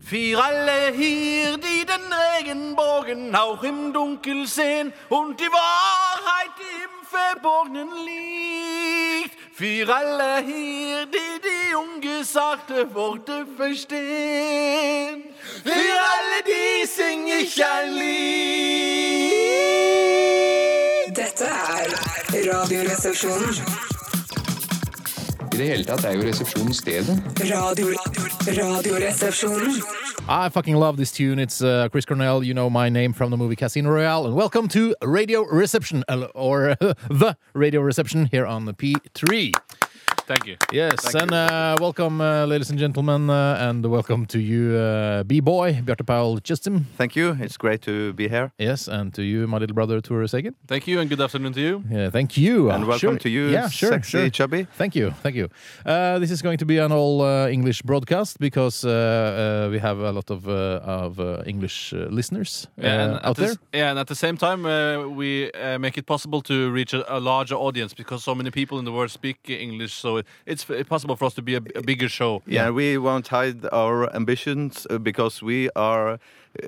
Für alle hier, die den Regenbogen auch im Dunkel sehen und die Wahrheit im Verborgenen liegt. Für alle hier, die die ungesagte Worte verstehen. Für alle die sing ich ein Lied. Dette er Radioresepsjonen. I det hele tatt er jo resepsjonen stedet. Radio, radioresepsjonen. I fucking love this tune. It's uh, Chris Cornell. You know my name from the movie Casino Royale. And welcome to Radio Reception, uh, or the Radio Reception here on the P3. Thank you. Yes, Thank and you. uh, welcome, uh, ladies and gentlemen, uh, and welcome to you, uh, B-boy Bjarte Paul Chistum. Thank you. It's great to be here. Yes, and to you, my little brother Ture Sagan. Thank you, and good afternoon to you. Yeah, thank you. And Uh, welcome sure. to you, yeah, sure, sexy sure. chubby. Thank you, thank you. Uh, this is going to be an all uh, English broadcast because uh, uh, we have a lot of uh, of uh, English uh, listeners uh, and out at the there. s- yeah, and at the same time, uh, we uh, make it possible to reach a, a larger audience because so many people in the world speak English. So it, it's f- possible for us to be a, a bigger show. Yeah, we won't hide our ambitions uh, because we are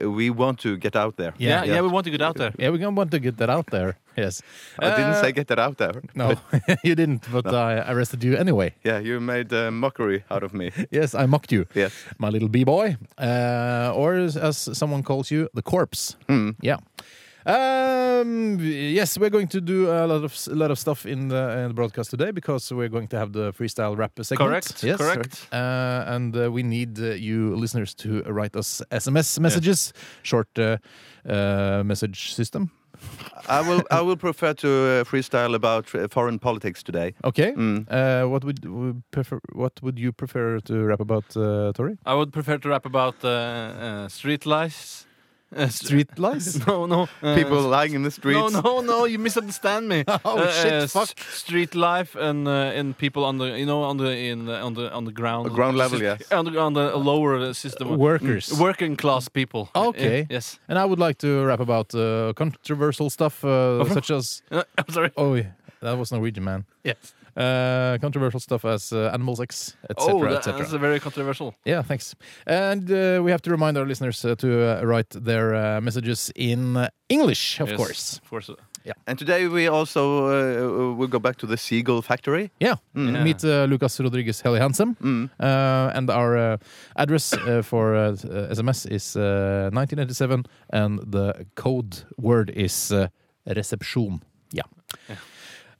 uh, we want to get out there. yeah, yeah, we want to get out there. Yeah, we're gonna want to get that out there. Yes. I didn't Uh, say get that out there. No, you didn't, but I arrested you anyway. Yeah, you made a mockery out of me. Yes, I mocked you. Yes. My little b boy. Uh, or as, as someone calls you, the corpse. Hmm. Yeah. Um, yes, we're going to do a lot of a lot of stuff in the, in the broadcast today because we're going to have the freestyle rap segment. Correct, Yes. correct. Uh, and uh, we need uh, you listeners to write us SMS messages, short uh, uh, message system. I will I will prefer to uh, freestyle about uh, foreign politics today. Okay. Hmm. Uh, what would, would prefer? What would you prefer to rap about, uh, Tori? I would prefer to rap about uh, uh, street lies. Uh, st- Street lies. No, no. uh, People lying in the No, streets. no, no! You misunderstand me. Uh, Oh, shit, s- fuck. Street life and uh, and people on the you know on the in the, on the on the ground Ground level, yes. Uh, on the, on the lower system Mm, Workers. working class people. Okay. Uh, yes. And I would like to rap about uh, controversial stuff, uh, such as Uh, I'm sorry. oh, yeah, that was Norwegian man. Yes. Uh, controversial stuff as uh, animal sex, Oh, etc., that, that's etc. a very controversial. Yeah, thanks. And uh, we have to remind our listeners uh, to uh, write their uh, messages in uh, English, of Yes, course. Of course. And today we also uh, will go back to the seagull factory. Yeah, Mm. Yeah. meet uh, Lucas Rodriguez Heli Handsome. Uh, and our uh, address uh, for uh, uh, SMS is uh, 1987, and the code word is uh, reception. Yeah.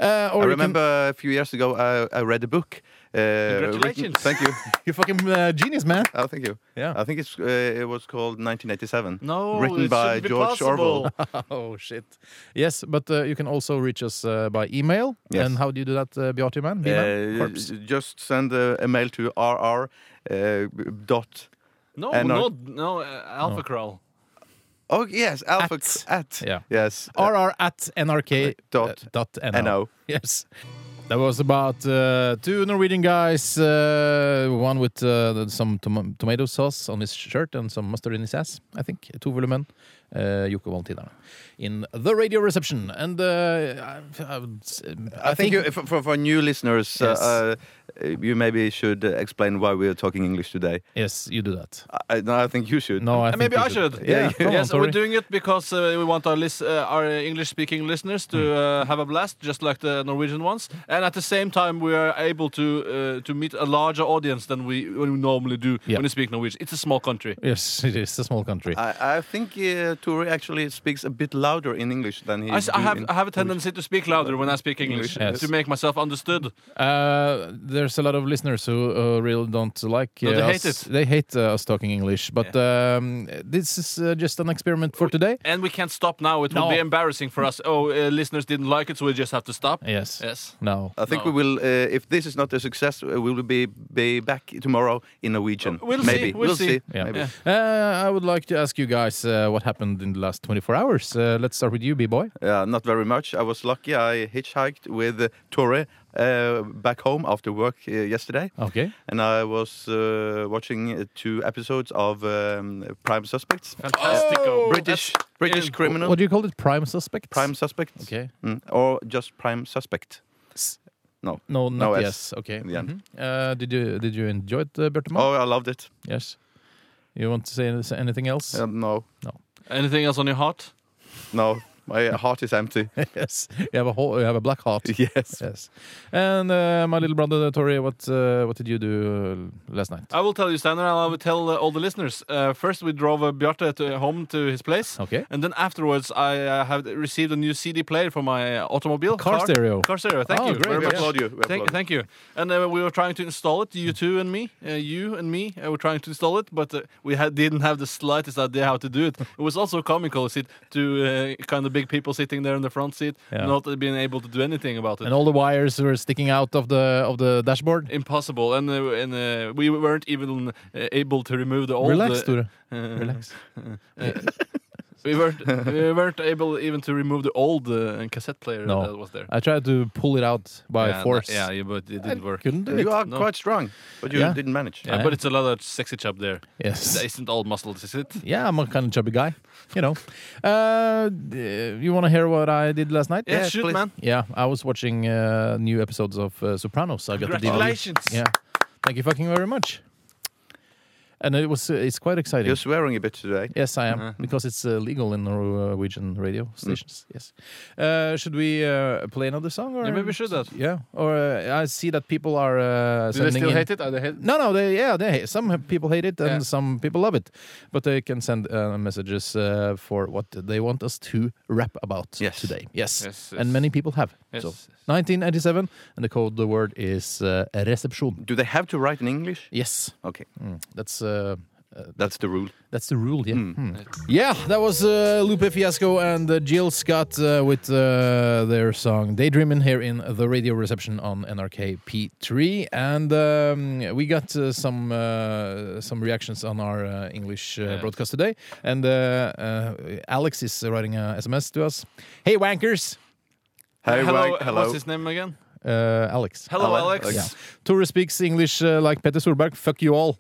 Uh, or I you remember a few years ago I, I read a book. Uh, written- Congratulations. thank you. Can, you're fucking uh, genius, man. Oh, thank you. Yeah. I think it's uh, it was called 1987. No, written it by shouldn't be George possible. Orwell. oh, shit. Yes, but uh, you can also reach us uh, by email. Yes. And how do you do that, uh, Bjarty Man? B-man? Uh, Corpse. just send a, a mail to rr uh, dot. No, And no, our- no. Uh, Alpha Crawl. Oh yes, alpha At. at, Yeah. Oh, yes uh, rr at nrk Dot uh, dot no. NO. Yes. That was about uh, two Norwegian guys, uh, one with uh, some tom tomato sauce on his shirt and some mustard in his ass, I think. To volumen. Uh, Jukka Valtiderne. In the radio reception. And uh, I, I, would, s- I, think, you, for, for for new listeners, Yes. uh, uh, you maybe should uh, explain why we are talking English today. Yes, you do that. I, no, I think you should. No, I Uh, think maybe you I should. Yeah, Yeah, come on, yes, Tori. we're doing it because uh, we want our lis- uh, our English-speaking listeners Hmm. to uh, have a blast, just like the Norwegian ones. And at the same time, we are able to uh, to meet a larger audience than we, when we normally do Yeah. when we speak Norwegian. It's a small country. Yes, it is a small country. I, I think uh, Tori actually speaks a bit louder in English than he. I, s- I do have in- I have a tendency to speak louder when I speak English, English, yes. to make myself understood. Uh, there's a lot of listeners who uh, really don't like. No, they uh, hate us. it. They hate uh, us talking English. But um, this is uh, just an experiment for today. And we can't stop now. It No. would be embarrassing for us. Oh, uh, listeners didn't like it, so we just have to stop. Yes. Yes. No. I think No. we will. Uh, if this is not a success, uh, we will be be back tomorrow in Norwegian. Uh, We'll see, maybe. we'll see. Yeah. Maybe. Uh, I would like to ask you guys uh, what happened in the last 24 hours. Uh, let's start with you, B boy. Yeah, Uh, not very much. I was lucky. I hitchhiked with uh, Tore uh, back home after work uh, yesterday. Oh. Okay. And I was uh, watching uh, two episodes of um, Prime Suspects. Fantastico. Oh. British Oh, That's- British yeah. criminal. What do you call it? Prime suspects. Prime Suspects. Okay. Mm, or just Prime Suspect. S- No. No, not No, yes. yes. Okay. In the end. Mhm. Uh, did you did you enjoy it, uh, Bjarte Mann? Oh, I loved it. Yes. You want to say say anything else? Um, no. Anything else on your heart? No. My heart is empty. yes. You have a whole, you have a black heart. yes. Yes. And uh, my little brother Tori, what uh, what did you do uh, last night? I will tell you, Steinar, and I will tell uh, all the listeners. Uh, first, we drove uh, Bjarte to, home to his place. Okay. And then afterwards, I uh, have received a new CD player for my uh, automobile. Car stereo. Car stereo, thank Oh, you. great. very We much. applaud you. We Thank, applaud thank you. And uh, we were trying to install it, you two and me, uh, you and me, uh, were trying to install it, but uh, we had, didn't have the slightest idea how to do it. It was also comical sit to uh, kind of big people sitting there in the front seat, Yeah. not being able to do anything about it. And all the wires were sticking out of the of the dashboard. Impossible, and uh, and uh, we weren't even uh, able to remove the old. Relax, uh, Tore. uh, Relax. We weren't we weren't able even to remove the old uh, cassette player No. that was there I tried to pull it out by yeah, force. Yeah, yeah, but it I didn't work. couldn't do it. You are No. quite strong, but you Yeah. didn't manage. Yeah. Uh, but it's a lot of sexy chub there. Yes. That isn't all muscles, is it? Yeah, I'm a kind of chubby guy, you know. Uh, d- you want to hear what I did last night? Yeah, shoot, man. Yeah, I was watching uh, new episodes of uh, Sopranos. I got the DVD. Congratulations. Yeah, thank you fucking very much. And it was uh, it's quite exciting. You're swearing a bit today. Yes, I am Uh-huh. because it's uh, legal in Norwegian radio Mm. stations. Yes. Uh, should we uh, play another song? Or Yeah, maybe we should that. Yeah. Or uh, I see that people are uh, Do they sending still in. hate it? Are they hate? No, no, they yeah, they hate. Some ha- people hate it and Yeah. some people love it, but they can send uh, messages uh, for what they want us to rap about Yes. today. Yes. Yes, and yes. many people have. Yes, So yes. 1987, and the code the word is uh, reception. Do they have to write in English? Yes, Okay, that's. Uh, uh, that's the rule. that's the rule, yeah. Hmm. Yeah, that was uh, Lupe Fiasco and uh, Jill Scott uh, with uh, their song Daydreamin' here in the radio reception on NRK P3. And um, we got uh, some uh, some reactions on our uh, English uh, Yeah. broadcast today. And uh, uh, Alex is writing a SMS to us. Hey, wankers! Hey, hello, Wag- hello. What's his name again? Uh, Alex. Hello, Alex. Alex. Yeah. Tore speaks English uh, like Petter Solberg. Fuck you all.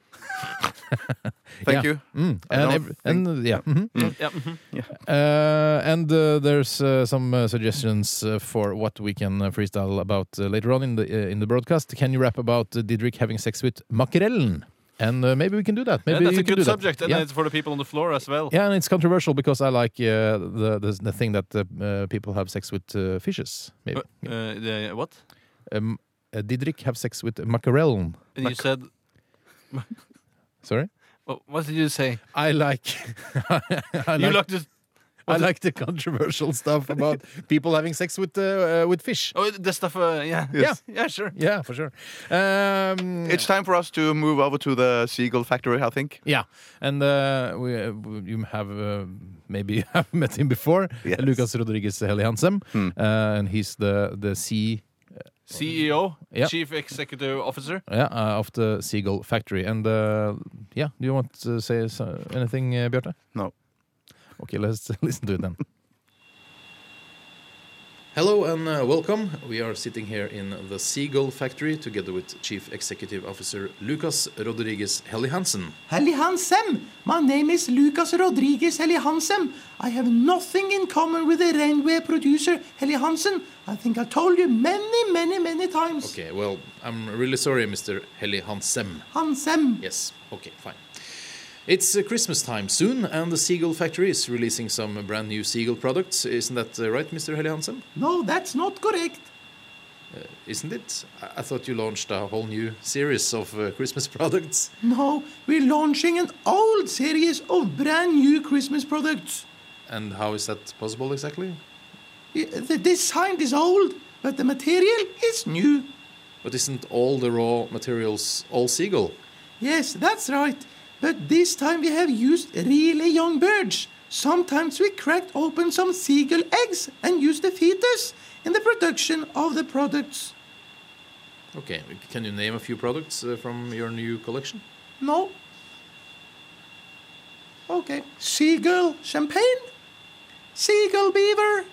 Thank Yeah. you. Mm. I And, don't every- and, uh, yeah. mhm. Yeah, mhm. Uh, and uh, there's uh, some uh, suggestions uh, for what we can uh, freestyle about uh, later on in the uh, in the broadcast. Can you rap about uh, Didrik having sex with makrellen? And uh, maybe we can do that. Maybe Yeah, that's you a can do good that. subject, and yeah. it's for the people on the floor as well. yeah, and it's controversial because I like uh, the, the the thing that uh, uh, people have sex with uh, fishes. Maybe Uh, uh, yeah, what? um, uh, Didrik have sex with makrellen. And you said. Sorry, oh, What did you say? I like I you like, looked. At, I like the controversial stuff about people having sex with uh, uh, with fish. oh, the stuff. Uh, yeah. Yes. Yeah. Yeah. Sure. Yeah, for sure. Um, It's time for us to move over to the Seagull Factory, I think. Yeah, and uh, we, uh, you have uh, maybe you have met him before, Yes. Hmm. Lucas Rodriguez Heli Hansen, uh, and he's the the C CEO, Yeah. E Chief Executive Officer. yeah, uh, of the Seagull Factory. And uh, yeah, do you want to say so- anything, uh, Bjarte? No. Okay, let's listen to it then. Hello and uh, welcome. We are sitting here in the Seagull Factory together with Chief Executive Officer Lucas Rodriguez Heli Hansen. Helly Hansem! My name is Lucas Rodriguez Helly Hansem. I have nothing in common with the railway producer Helly Hansen. I think I told you many, many, many times. Okay, well, I'm really sorry, Mr. Heli Hansen. Hansem. Yes. Okay, fine. It's uh, Christmas time soon, and the Seagull Factory is releasing some uh, brand new Seagull products. Isn't that uh, right, Mr. Helle Hansen? No, that's not correct. Isn't it? I-, I thought you launched a whole new series of uh, Christmas products. No, we're launching an old series of brand new Christmas products. And how is that possible exactly? I- The design is old, but the material is new. But isn't all the raw materials all Seagull? Yes, that's right. But this time we have used really young birds. Sometimes we cracked open some seagull eggs and used the fetus in the production of the products. Okay, can you name a few products uh, from your new collection? No? Okay. Seagull champagne, seagull beaver,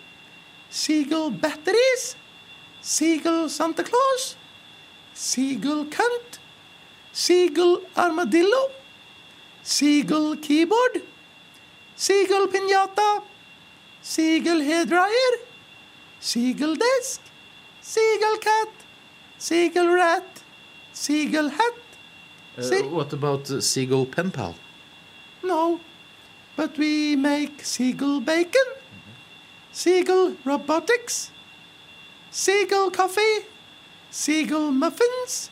seagull batteries, seagull Santa Claus, seagull cunt, seagull armadillo, seagull keyboard, seagull pinata, seagull hairdryer, seagull desk, seagull cat, Seagull rat. Seagull hat. Se- what about uh, Seagull pen pal? No. But we make seagull bacon, seagull robotics, seagull coffee, seagull muffins,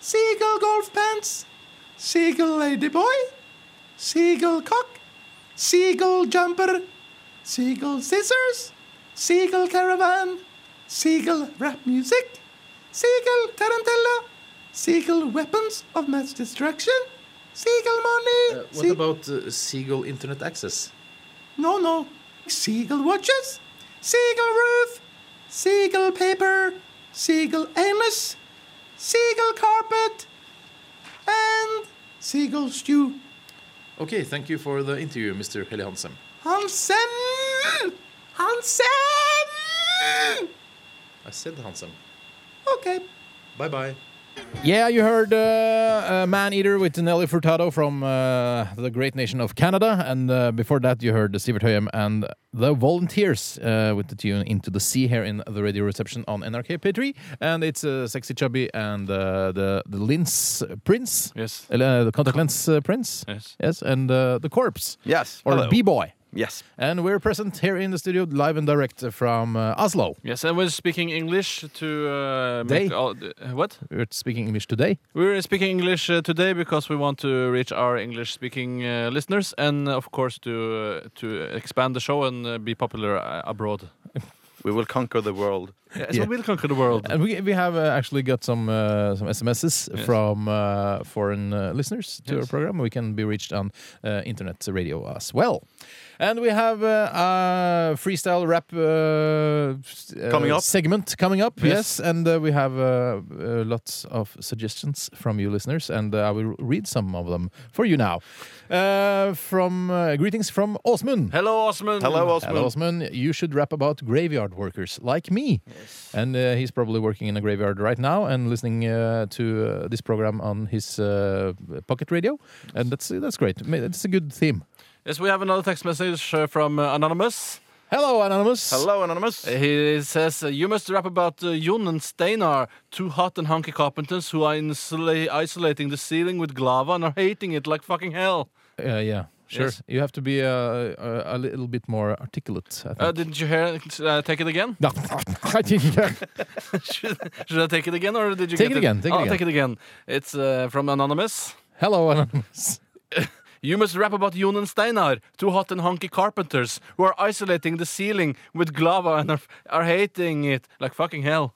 seagull golf pants, seagull ladyboy, seagull cock, seagull jumper, seagull scissors, seagull caravan, seagull rap music, seagull tarantella, seagull weapons of mass destruction, seagull money. what sea- about uh, Seagull internet access? no, no. Seagull watches, seagull roof, seagull paper, seagull anus, seagull carpet, and seagull stew. Okay, thank you for the interview, Mr. Helle Hansen. Hansen! Hansen! I said Hansen. Okay. Bye bye. Yeah, you heard uh, uh, Man Eater with Nelly Furtado from uh, the great nation of Canada. And uh, before that, you heard Sivert Høyem and the Volunteers uh, with the tune Into the Sea here in the radio reception on NRK P3. And it's uh, Sexy Chubby and uh, the, the Lince Prince. Yes. Eller, uh, the Contact Lens uh, Prince. Yes. Yes. And uh, the Corpse. Yes. Or hello. B Boy. Yes. And we're present here in the studio, live and direct from uh, Oslo. Yes, and we're speaking English to uh, They. make all the- what? We're speaking English today. We're speaking English uh, today because we want to reach our English-speaking uh, listeners, and of course to uh, to expand the show and uh, be popular uh, abroad. We will conquer the world. Yes, Yeah. we will conquer the world. And we we have uh, actually got some uh, some SMSs Yes. from uh, foreign uh, listeners to our program. We can be reached on uh, internet radio as well. And we have uh, a freestyle rap uh, s- uh, Coming up. segment coming up. Yes, Yes. and uh, we have uh, uh, lots of suggestions from you listeners, and uh, I will read some of them for you now. Uh, from uh, greetings from Åsmund. Hello, Osman. Hello, Osman. Hello, Osman. You should rap about graveyard workers like me. And uh, he's probably working in a graveyard right now and listening uh, to uh, this program on his uh, pocket radio. And that's that's great. Ma- That's a good theme. Yes, we have another text message uh, from uh, anonymous. Hello, Anonymous. Hello, Anonymous. He says, uh, You must rap about uh, Jon and Steinar, two hot and hunky carpenters who are insula- isolating the ceiling with glava and are hating it like fucking hell. Uh, yeah, sure. Yes. You have to be uh, a, a little bit more articulate. I think. Uh, didn't you hear it? Uh, take it again? No, I think- yeah. should, should I take it again or did you Take get it again, take it I'll again. take it again. It's uh, from Anonymous. Hello, Anonymous. You must rap about Jon and Steinar, two hot and hunky carpenters who are isolating the ceiling with glava and are, are hating it like fucking hell.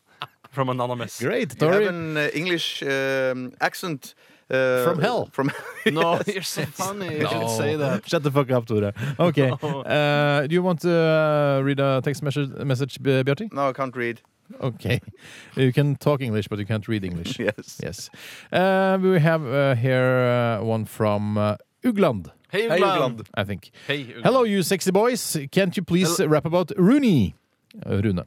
From Anonymous. Great, You Tori. have an uh, English um, accent. uh, From hell. From No, you're so funny. You should say that. Oh. Shut the fuck up, Tore. Okay. Uh, do you want to uh, read a text message, message B- Bjarti? no, I can't read. Okay. You can talk English, but you can't read English. Yes. Yes. Uh, we have uh, here uh, one from uh, Ugland, Hey, Hey, Ugland. Ugland. I think. Hey, Ugland. Hello, you sexy boys. Can't you please rap about Rooney? Uh, Rune.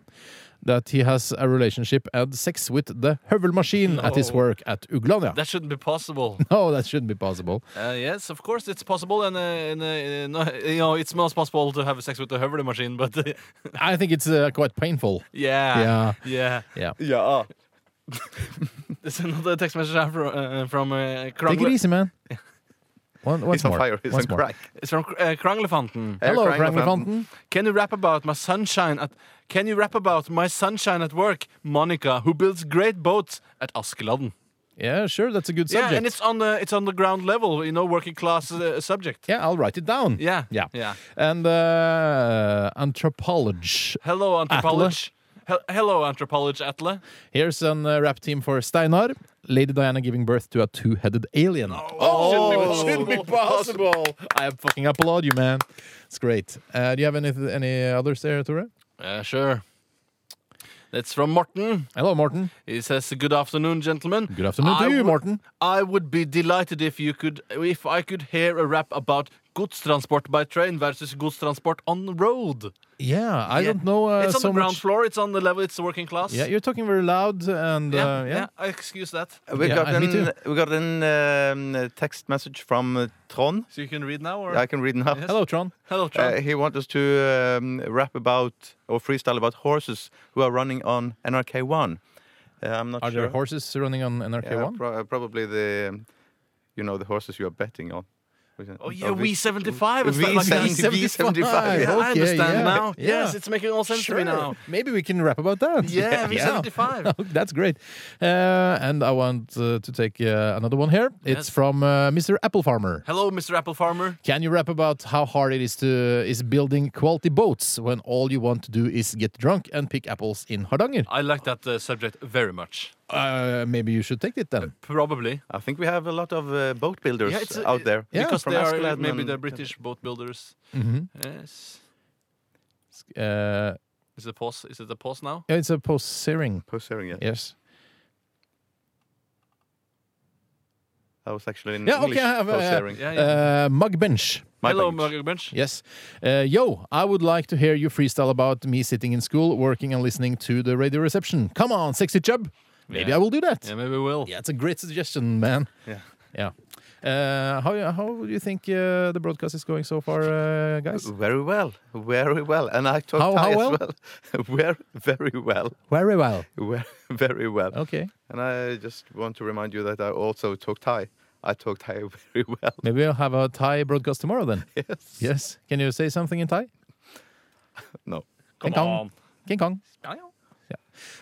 That he has a relationship and sex with the Hövel machine at his No. work at Uglandia. Oh. That shouldn't be possible. oh, that shouldn't be possible. Uh, yes, of course it's possible, and, uh, and uh, no, you know it's not possible to have sex with the Hoverly machine. But uh, I think it's uh, quite painful. yeah, yeah, yeah. Yeah. Yeah. ah. There's another text message I have from uh, from uh, Take it Krangle. easy, man. One, once He's on more. fire. He's on once more. crack. It's from uh, Kranglefanten. Hey, Hello, Kranglefanten. Kranglefanten. Fountain. Can you rap about my sunshine at? Can you rap about my sunshine at work, Monica, who builds great boats at Askeladden? Yeah, sure. That's a good subject. Yeah, and it's on the it's on the ground level, you know, working class uh, subject. Yeah, I'll write it down. Yeah, Yeah. yeah. And uh, anthropology. Hello, anthropologist. He- hello, anthropologist Atle. Here's an uh, rap team for Steinar. Lady Diana giving birth to a two-headed alien. Oh, Shouldn't be possible. I fucking applaud you, man. It's great. Uh, do you have any any others there, Tore? Uh, sure. That's from Morten. Hello, Morten. He says, "Good afternoon, gentlemen. Good afternoon I to you, would- Morten. I would be delighted if you could, if I could hear a rap about godstransport by train versus godstransport on the road. Yeah, I Yeah. don't know uh, it's on so the ground much. floor. It's on the level. It's working class. Yeah, you're talking very loud and yeah, uh, yeah. yeah, I excuse that. We Yeah, got and me an, we got an um, uh, text message from uh, Tron. So you can read now, or I can read now. Hello, Tron. hello, Trump. Uh, he wants us to um, rap about or freestyle about horses who are running on NRK1. Uh, I'm not Are sure. there horses running on NRK Yeah, One? pro- probably the, um, you know, the horses you are betting on. Oh yeah, V seventy five. V70, V75. Yeah. Yeah, I Okay, understand yeah. now. Yeah. Yes, it's making all sense to me now. Maybe we can rap about that. Yeah, V75. That's great. Uh, and I want uh, to take uh, another one here. It's Yes. from uh, Mr. Apple Farmer. Hello, Mr. Apple Farmer. Can you rap about how hard it is to is building quality boats when all you want to do is get drunk and pick apples in Hardanger? I like that uh, subject very much. Uh, maybe you should take it then. Probably. I think we have a lot of uh, boat builders Yeah, it's, uh, out there. Yeah. because From they are Askeladden maybe and- the British boat builders. Mm-hmm. Yes. Uh, Is it pause? Is it a pause now? it's a posering. Posering, yeah. Yes. I was actually in Yeah, okay, English. I have, uh, posering. Yeah, yeah. Uh, mug bench. My Hello, bad. Margaret Bench. Yes. Uh, yo, I would like to hear you freestyle about me sitting in school, working and listening to the radio reception. Come on, sexy chub. Maybe Yeah. I will do that. Yeah, maybe we will. Yeah, it's a great suggestion, man. Yeah. Yeah. Uh, how how do you think uh, the broadcast is going so far, uh, guys? Very well, very well, and I talk How- Thai how as well? well. very, very well, Very well. Ver- very well. Okay. And I just want to remind you that I also talk Thai. I talk Thai very well. Maybe we'll have a Thai broadcast tomorrow then. Yes. Yes. Can you say something in Thai? No. King Kong. King Kong.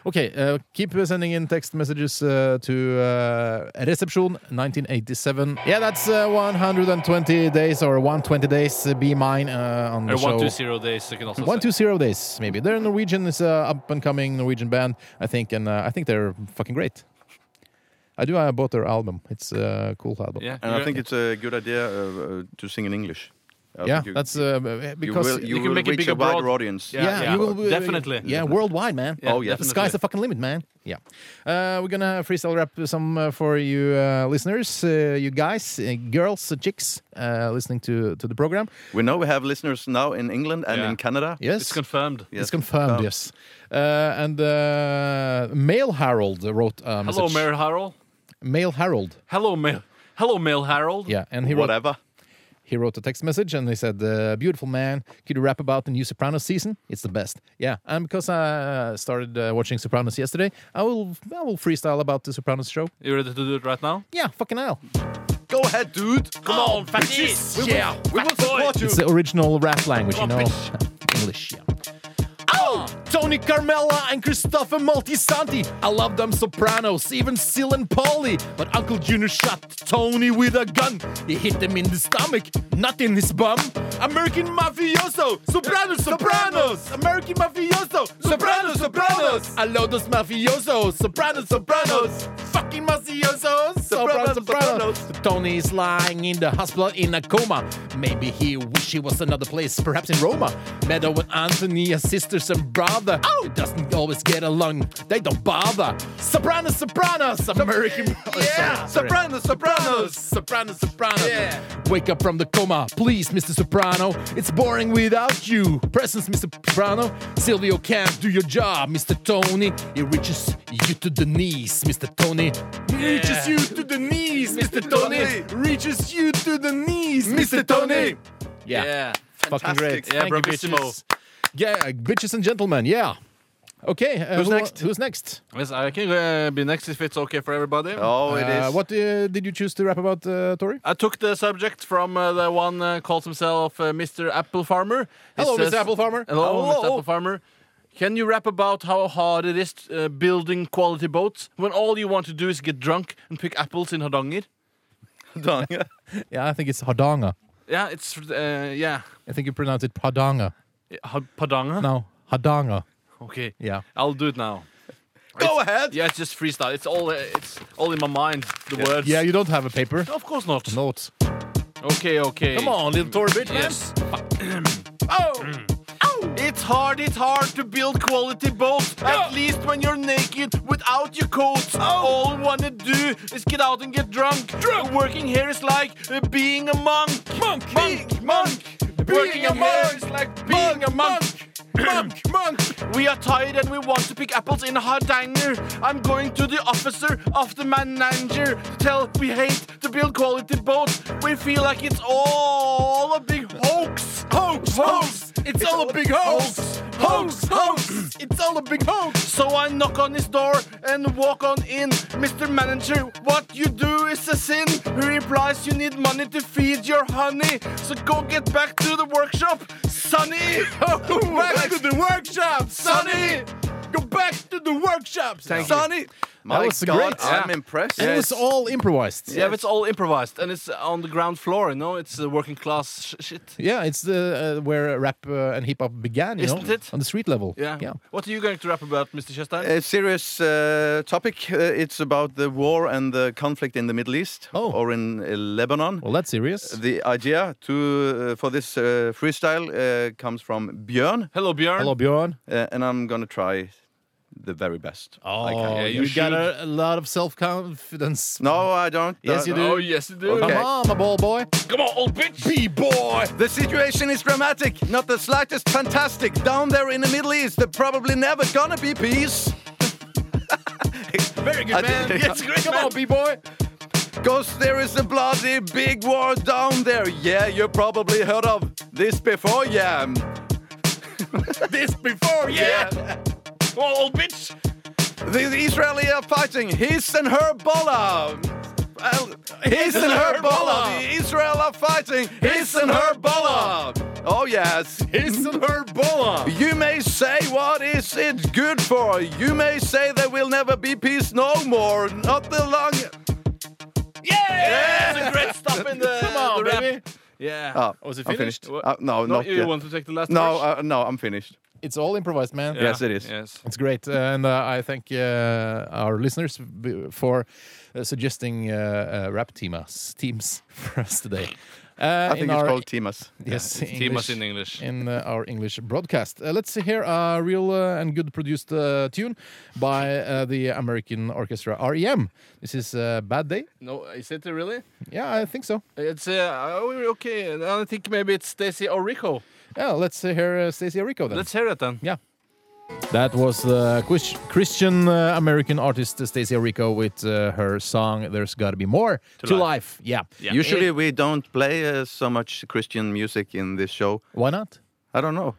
Okay, uh, keep sending in text messages uh, to uh, Reception 1987. Yeah, that's uh, 120 days or 120 days. Uh, be mine uh, on the Or show. one two zero days. You can also One say. two zero days, maybe. They're Norwegian. It's a up and coming Norwegian band, I think, and uh, I think they're fucking great. I do. I bought their album. It's a cool album. Yeah, And you're- I think it's a good idea uh, uh, to sing in English. I yeah. think you- that's uh, you because will, you can will make it reach bigger a wider broad- audience. Yeah, yeah. you will be- definitely. Yeah, worldwide, man. Yeah, Oh, yeah. The sky's the fucking limit, man. Yeah. Uh, we're gonna freestyle rap some uh, for you uh, listeners, uh, you guys, uh, girls, uh, chicks, uh, listening to to the program. We know we have listeners now in England and Yeah. in Canada. Yes. it's confirmed. Yes. It's confirmed, Oh. yes. Uh, and uh, Mail Harold wrote a message. Hello, Mayor Harold. Mail Harold. Hello, Mail. Hello, Mail Harold. Yeah, and he wrote Whatever. he wrote a text message and he said, uh, "Beautiful man, could you rap about the new Sopranos season? It's the best." Yeah, and because I uh, started uh, watching Sopranos yesterday, I will I will freestyle about the Sopranos show. You ready to do it right now? Oh, Yeah, fucking hell. Go ahead, dude. Come on, Fatties. Yeah, We will support you. It's the original rap language, you Come know. on, English, yeah. Oh, Tony Carmella and Christopher Moltisanti. I love them Sopranos, even Seal and Polly. But Uncle Junior shot Tony with a gun. He hit him in the stomach, not in his bum. American Mafioso, Sopranos, Sopranos. American Mafioso, Sopranos, Sopranos. I love those Mafiosos, Sopranos, Sopranos. Fucking Mafiosos, Sopranos, Sopranos. Tony is lying in the hospital in a coma. Maybe he wish he was another place, perhaps in Roma. Meadow and Anthony are sisters and brother. Oh, it doesn't always get along. They don't bother. Sopranos, Sopranos, American. yeah, Sopranos, Sopranos, Sopranos, Sopranos. Wake up from the coma, please, Mr. Soprano. It's boring without you. Presence, Mr. Soprano. Silvio can't do your job, Mr. Tony. He reaches you to the knees, Mr. Tony. Reaches you to the knees, Mr. Tony. Reaches you to the knees, Mr. Tony. Yeah. Fucking great. Yeah, Thank you, bravissimo. bitches. Yeah, bitches and gentlemen. Yeah. Okay. uh, Who's who- next? Who's next? Yes, I can uh, be next if it's okay for everybody. Oh, it Uh, is. what uh, did you choose to rap about, uh, Tori? I took the subject from uh, the one uh, calls himself uh, Mr. Apple Farmer. He Hello, Mr. Apple Farmer. Hello, Hello. Mr. Apple Farmer. Can you rap about how hard it is uh, building quality boats when all you want to do is get drunk and pick apples in Hardanger? Done. Yeah, I think it's Hardanger. Yeah, it's uh, yeah, I think you pronounce it Hardanger. Had- Padanga. No, Hardanger. Okay, Yeah. I'll do it now. Go ahead. Yeah, it's just freestyle. It's all uh, it's all in my mind. The words. Yeah, you don't have a paper. Of course not. Notes. Okay, okay. Come on, little Tori bitch, man. Yes. oh. It's hard, it's hard to build quality boats. At least when you're naked without your coats. All you wanna do is get out and get drunk. drunk. Working here is like uh, being a monk. Monk, monk, monk. Working a monk is like being a monk. Monk, monk. We are tired and we want to pick apples in a hard diner. I'm going to the officer of the manager to tell we hate to build quality boats. We feel like it's all a big hoax. Hoax, hoax. It's, all a big hoax. hoax, hoax. it's all a big hoax. So I knock on his door and walk on in. Mr. Manager, what you do is a sin. He replies, you need money to feed your honey. So go get back to the workshop, Sonny. back to the workshop, Sonny. Go back to the workshop, Sonny. My was God, great. I'm Yeah. impressed. And it's all improvised. Yeah, but it's all improvised and it's on the ground floor, you know? It's uh, working class sh- shit. Yeah, it's the uh, where rap uh, and hip hop began, you Isn't know, it? on the street level. Yeah. yeah. What are you going to rap about, Mr. Chastain? A serious uh, topic. Uh, it's about the war and the conflict in the Middle East Oh. or in uh, Lebanon. Well, that's serious. the idea to uh, for this uh, freestyle uh, comes from Björn, Hello, Björn. Hello, Bjorn. uh, and I'm gonna try the very best. I can. Oh, you you got should. a, a lot of self confidence. No, I don't. Uh, Yes, you do. Oh, yes, you do. Come Okay. on, my ball boy. Come on, old bitch. B-boy. The situation is dramatic, not the slightest fantastic. Down there in the Middle East, there probably never gonna be peace. Very good, I man. did- Yes, great, Come man. on, B-boy. Cause there is a bloody big war down there. Yeah, you probably heard of this before, yeah. this before, yeah. Come on, old bitch. The Israeli are fighting his and her Hezbollah. Well, his and her Hezbollah. The Israel are fighting his and her Hezbollah. Oh, yes. His and her boa. You may say, what is it good for? You may say there will never be peace no more. Not the long. Yeah. That's a great stop in the, Come on, the rap. baby. Yeah. Oh, Was it I'm finished? finished. Uh, no, not you yet. want to take the last No, verse? uh, no, I'm finished. It's all improvised, man. Yeah, yes, it is. Yes. It's great, uh, and uh, I thank uh, our listeners b- for uh, suggesting uh, uh, rap teams teams for us today. Uh, I think in it's our- called Timas. yes, Timas in English. in uh, our English broadcast. Uh, let's hear a real uh, and good produced uh, tune by uh, the American orchestra REM. This is uh, Bad Day. No, is it really? Yeah, I think so. It's uh, oh, okay. And I think maybe it's Stacy or Rico. Yeah, let's uh, hear uh, Stacey Orico then. Let's hear it then. Yeah. That was the Chris- Christian uh, American artist Stacey Orico with uh, her song "There's Gotta Be More to, life. Yeah. Usually we don't play uh, so much Christian music in this show. Why not? I don't know.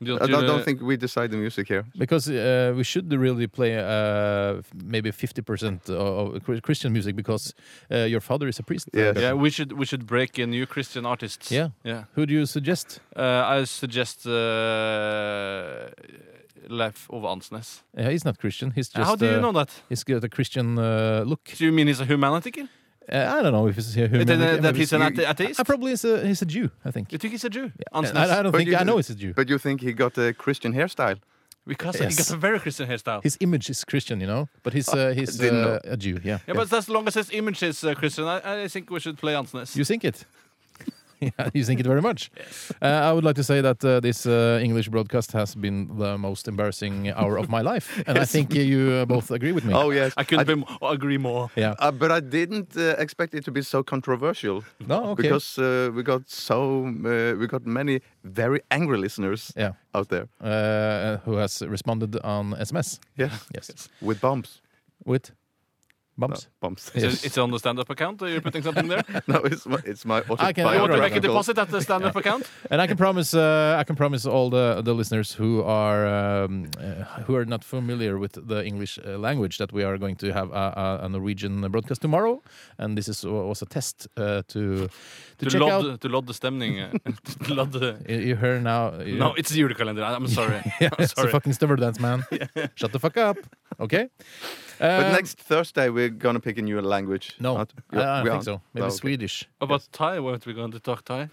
I don't, uh, don't think we decide the music here. Because uh, we should really play uh, f- maybe fifty percent of Chri- Christian music because uh, your father is a priest. Yes. Yeah, we should we should break in new Christian artists. Yeah. yeah. Who do you suggest? Uh, I suggest uh, Leif Ove Ansnes. Uh, he's not Christian. He's just. How do you uh, know that? He's got a Christian uh, look. Do you mean he's a humanitiker? Uh, I don't know if he's a human. Then, uh, I that mean, he's an athe- atheist? I probably is a, he's a Jew. I think. You think he's a Jew? I, Ansnes. I don't But think you- I know he's a Jew. But you think he got a Christian hairstyle? Because Yes. he got a very Christian hairstyle. His image is Christian, you know, but he's uh, he's didn't uh, know. a Jew. Yeah. yeah, but as long as his image is uh, Christian, I, I think we should play Ansnes. You think it? yeah, you think it very much. Uh, I would like to say that uh, this uh, English broadcast has been the most embarrassing hour of my life, and I think you uh, both agree with me. Oh, yes. I couldn't be mo- agree more. yeah. Uh, but I didn't uh, expect it to be so controversial. No, okay. Because uh, we got so uh, we got many very angry listeners Yeah. out there. Uh, who has responded on SMS? Yes, Yes. with bumps, With bumps. bumps. So Yes. it's on the stand up account. Are you putting something there? no, it's my it's my I can- you want Alright, to make a autobiographical- deposit at the stand up account? And I can promise, uh, I can promise all the the listeners who are um, uh, who are not familiar with the English uh, language that we are going to have a, a, a Norwegian broadcast tomorrow, and this is was a test uh, to to To check lodd, out. to lodd the stemning. uh, to lodd the- You- You hear now? you- No, it's the Julekalender. I- I'm sorry. yeah, I'm it's a sorry. fucking stubborn dance, man. Shut the fuck up, okay? But Um, next Thursday we're gonna pick a new language. no, I, Not- I we don't think aren't. so. Maybe No, Oh, okay. Swedish. About Thai, weren't we going to talk Thai?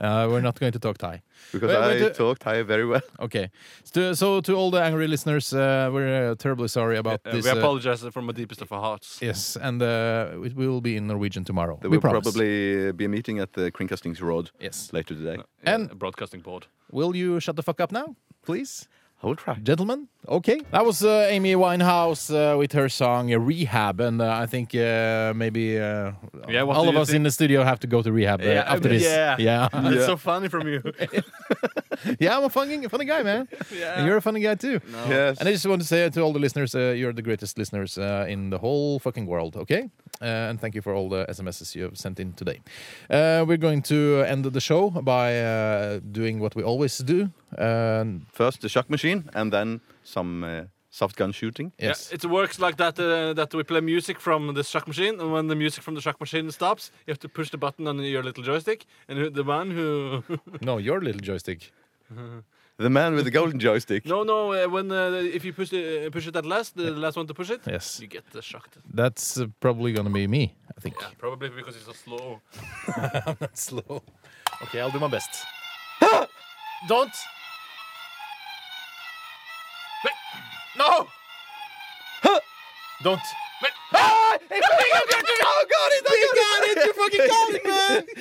Uh, we're not going to talk Thai. Because Well, we I do- talk Thai very well. Okay. So, so to all the angry listeners, uh, we're uh, terribly sorry about Uh, this. we uh, apologize from the deepest of our hearts. Yes, and uh, it will be in Norwegian tomorrow. There we will promise. probably uh, be a meeting at the Kringkastings Road Yes. later today. Yeah, And- uh, broadcasting board. Will you shut the fuck up now, please? I will try. Gentlemen, okay. That was uh, Amy Winehouse uh, with her song uh, Rehab, and uh, I think uh, maybe uh, Yeah, what all do of you us think? in the studio have to go to rehab uh, Yeah, after this. yeah. yeah. That's so funny from you. yeah, I'm a funny, funny guy, man. And you're a funny guy too. Oh. Yes. And I just want to say to all the listeners, uh, you're the greatest listeners uh, in the whole fucking world, okay? Uh, and thank you for all the SMSs you have sent in today. Uh, we're going to end the show by uh, doing what we always do. Um, First the shock machine, and then some uh, soft gun shooting. yes. Yeah, it works like that uh, that we play music from the shock machine, and when the music from the shock machine stops, you have to push the button on your little joystick, and who- the man who No, your little joystick. The man with the golden joystick. no no uh, when uh, if you push the, push it at last, the last one to push it, Yes. you get the shocked. That's uh, probably going to be me, I think. Yeah, probably because it's so slow. slow. Okay, I'll do my best. Don't. Wait. No. Don't. Wait. Oh god, he got it! You fucking got it,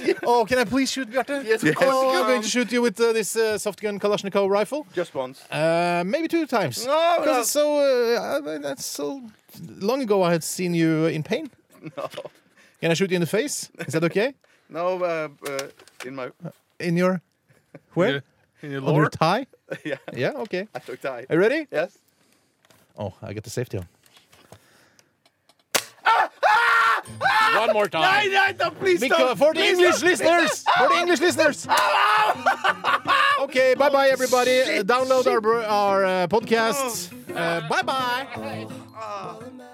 man! Oh, can I please shoot Bjarte? Yes, of course Oh, you I'm going to shoot you with uh, this uh, soft gun Kalashnikov rifle. Just once. Uh, maybe two times. No, because no. it's so. Uh, I- I- that's so long ago. I had seen you in pain. No, Can I shoot you in the face? Is that okay? no uh, uh, in my In your where? In your On your lore, tie? yeah, Yeah. Okay. I took die. Are you ready? Yes. Oh, I get the safety on. one more time. no, please Because for the English listeners, for the English listeners. Okay, bye bye everybody. Oh, Download our our uh, podcast. Uh, bye bye. All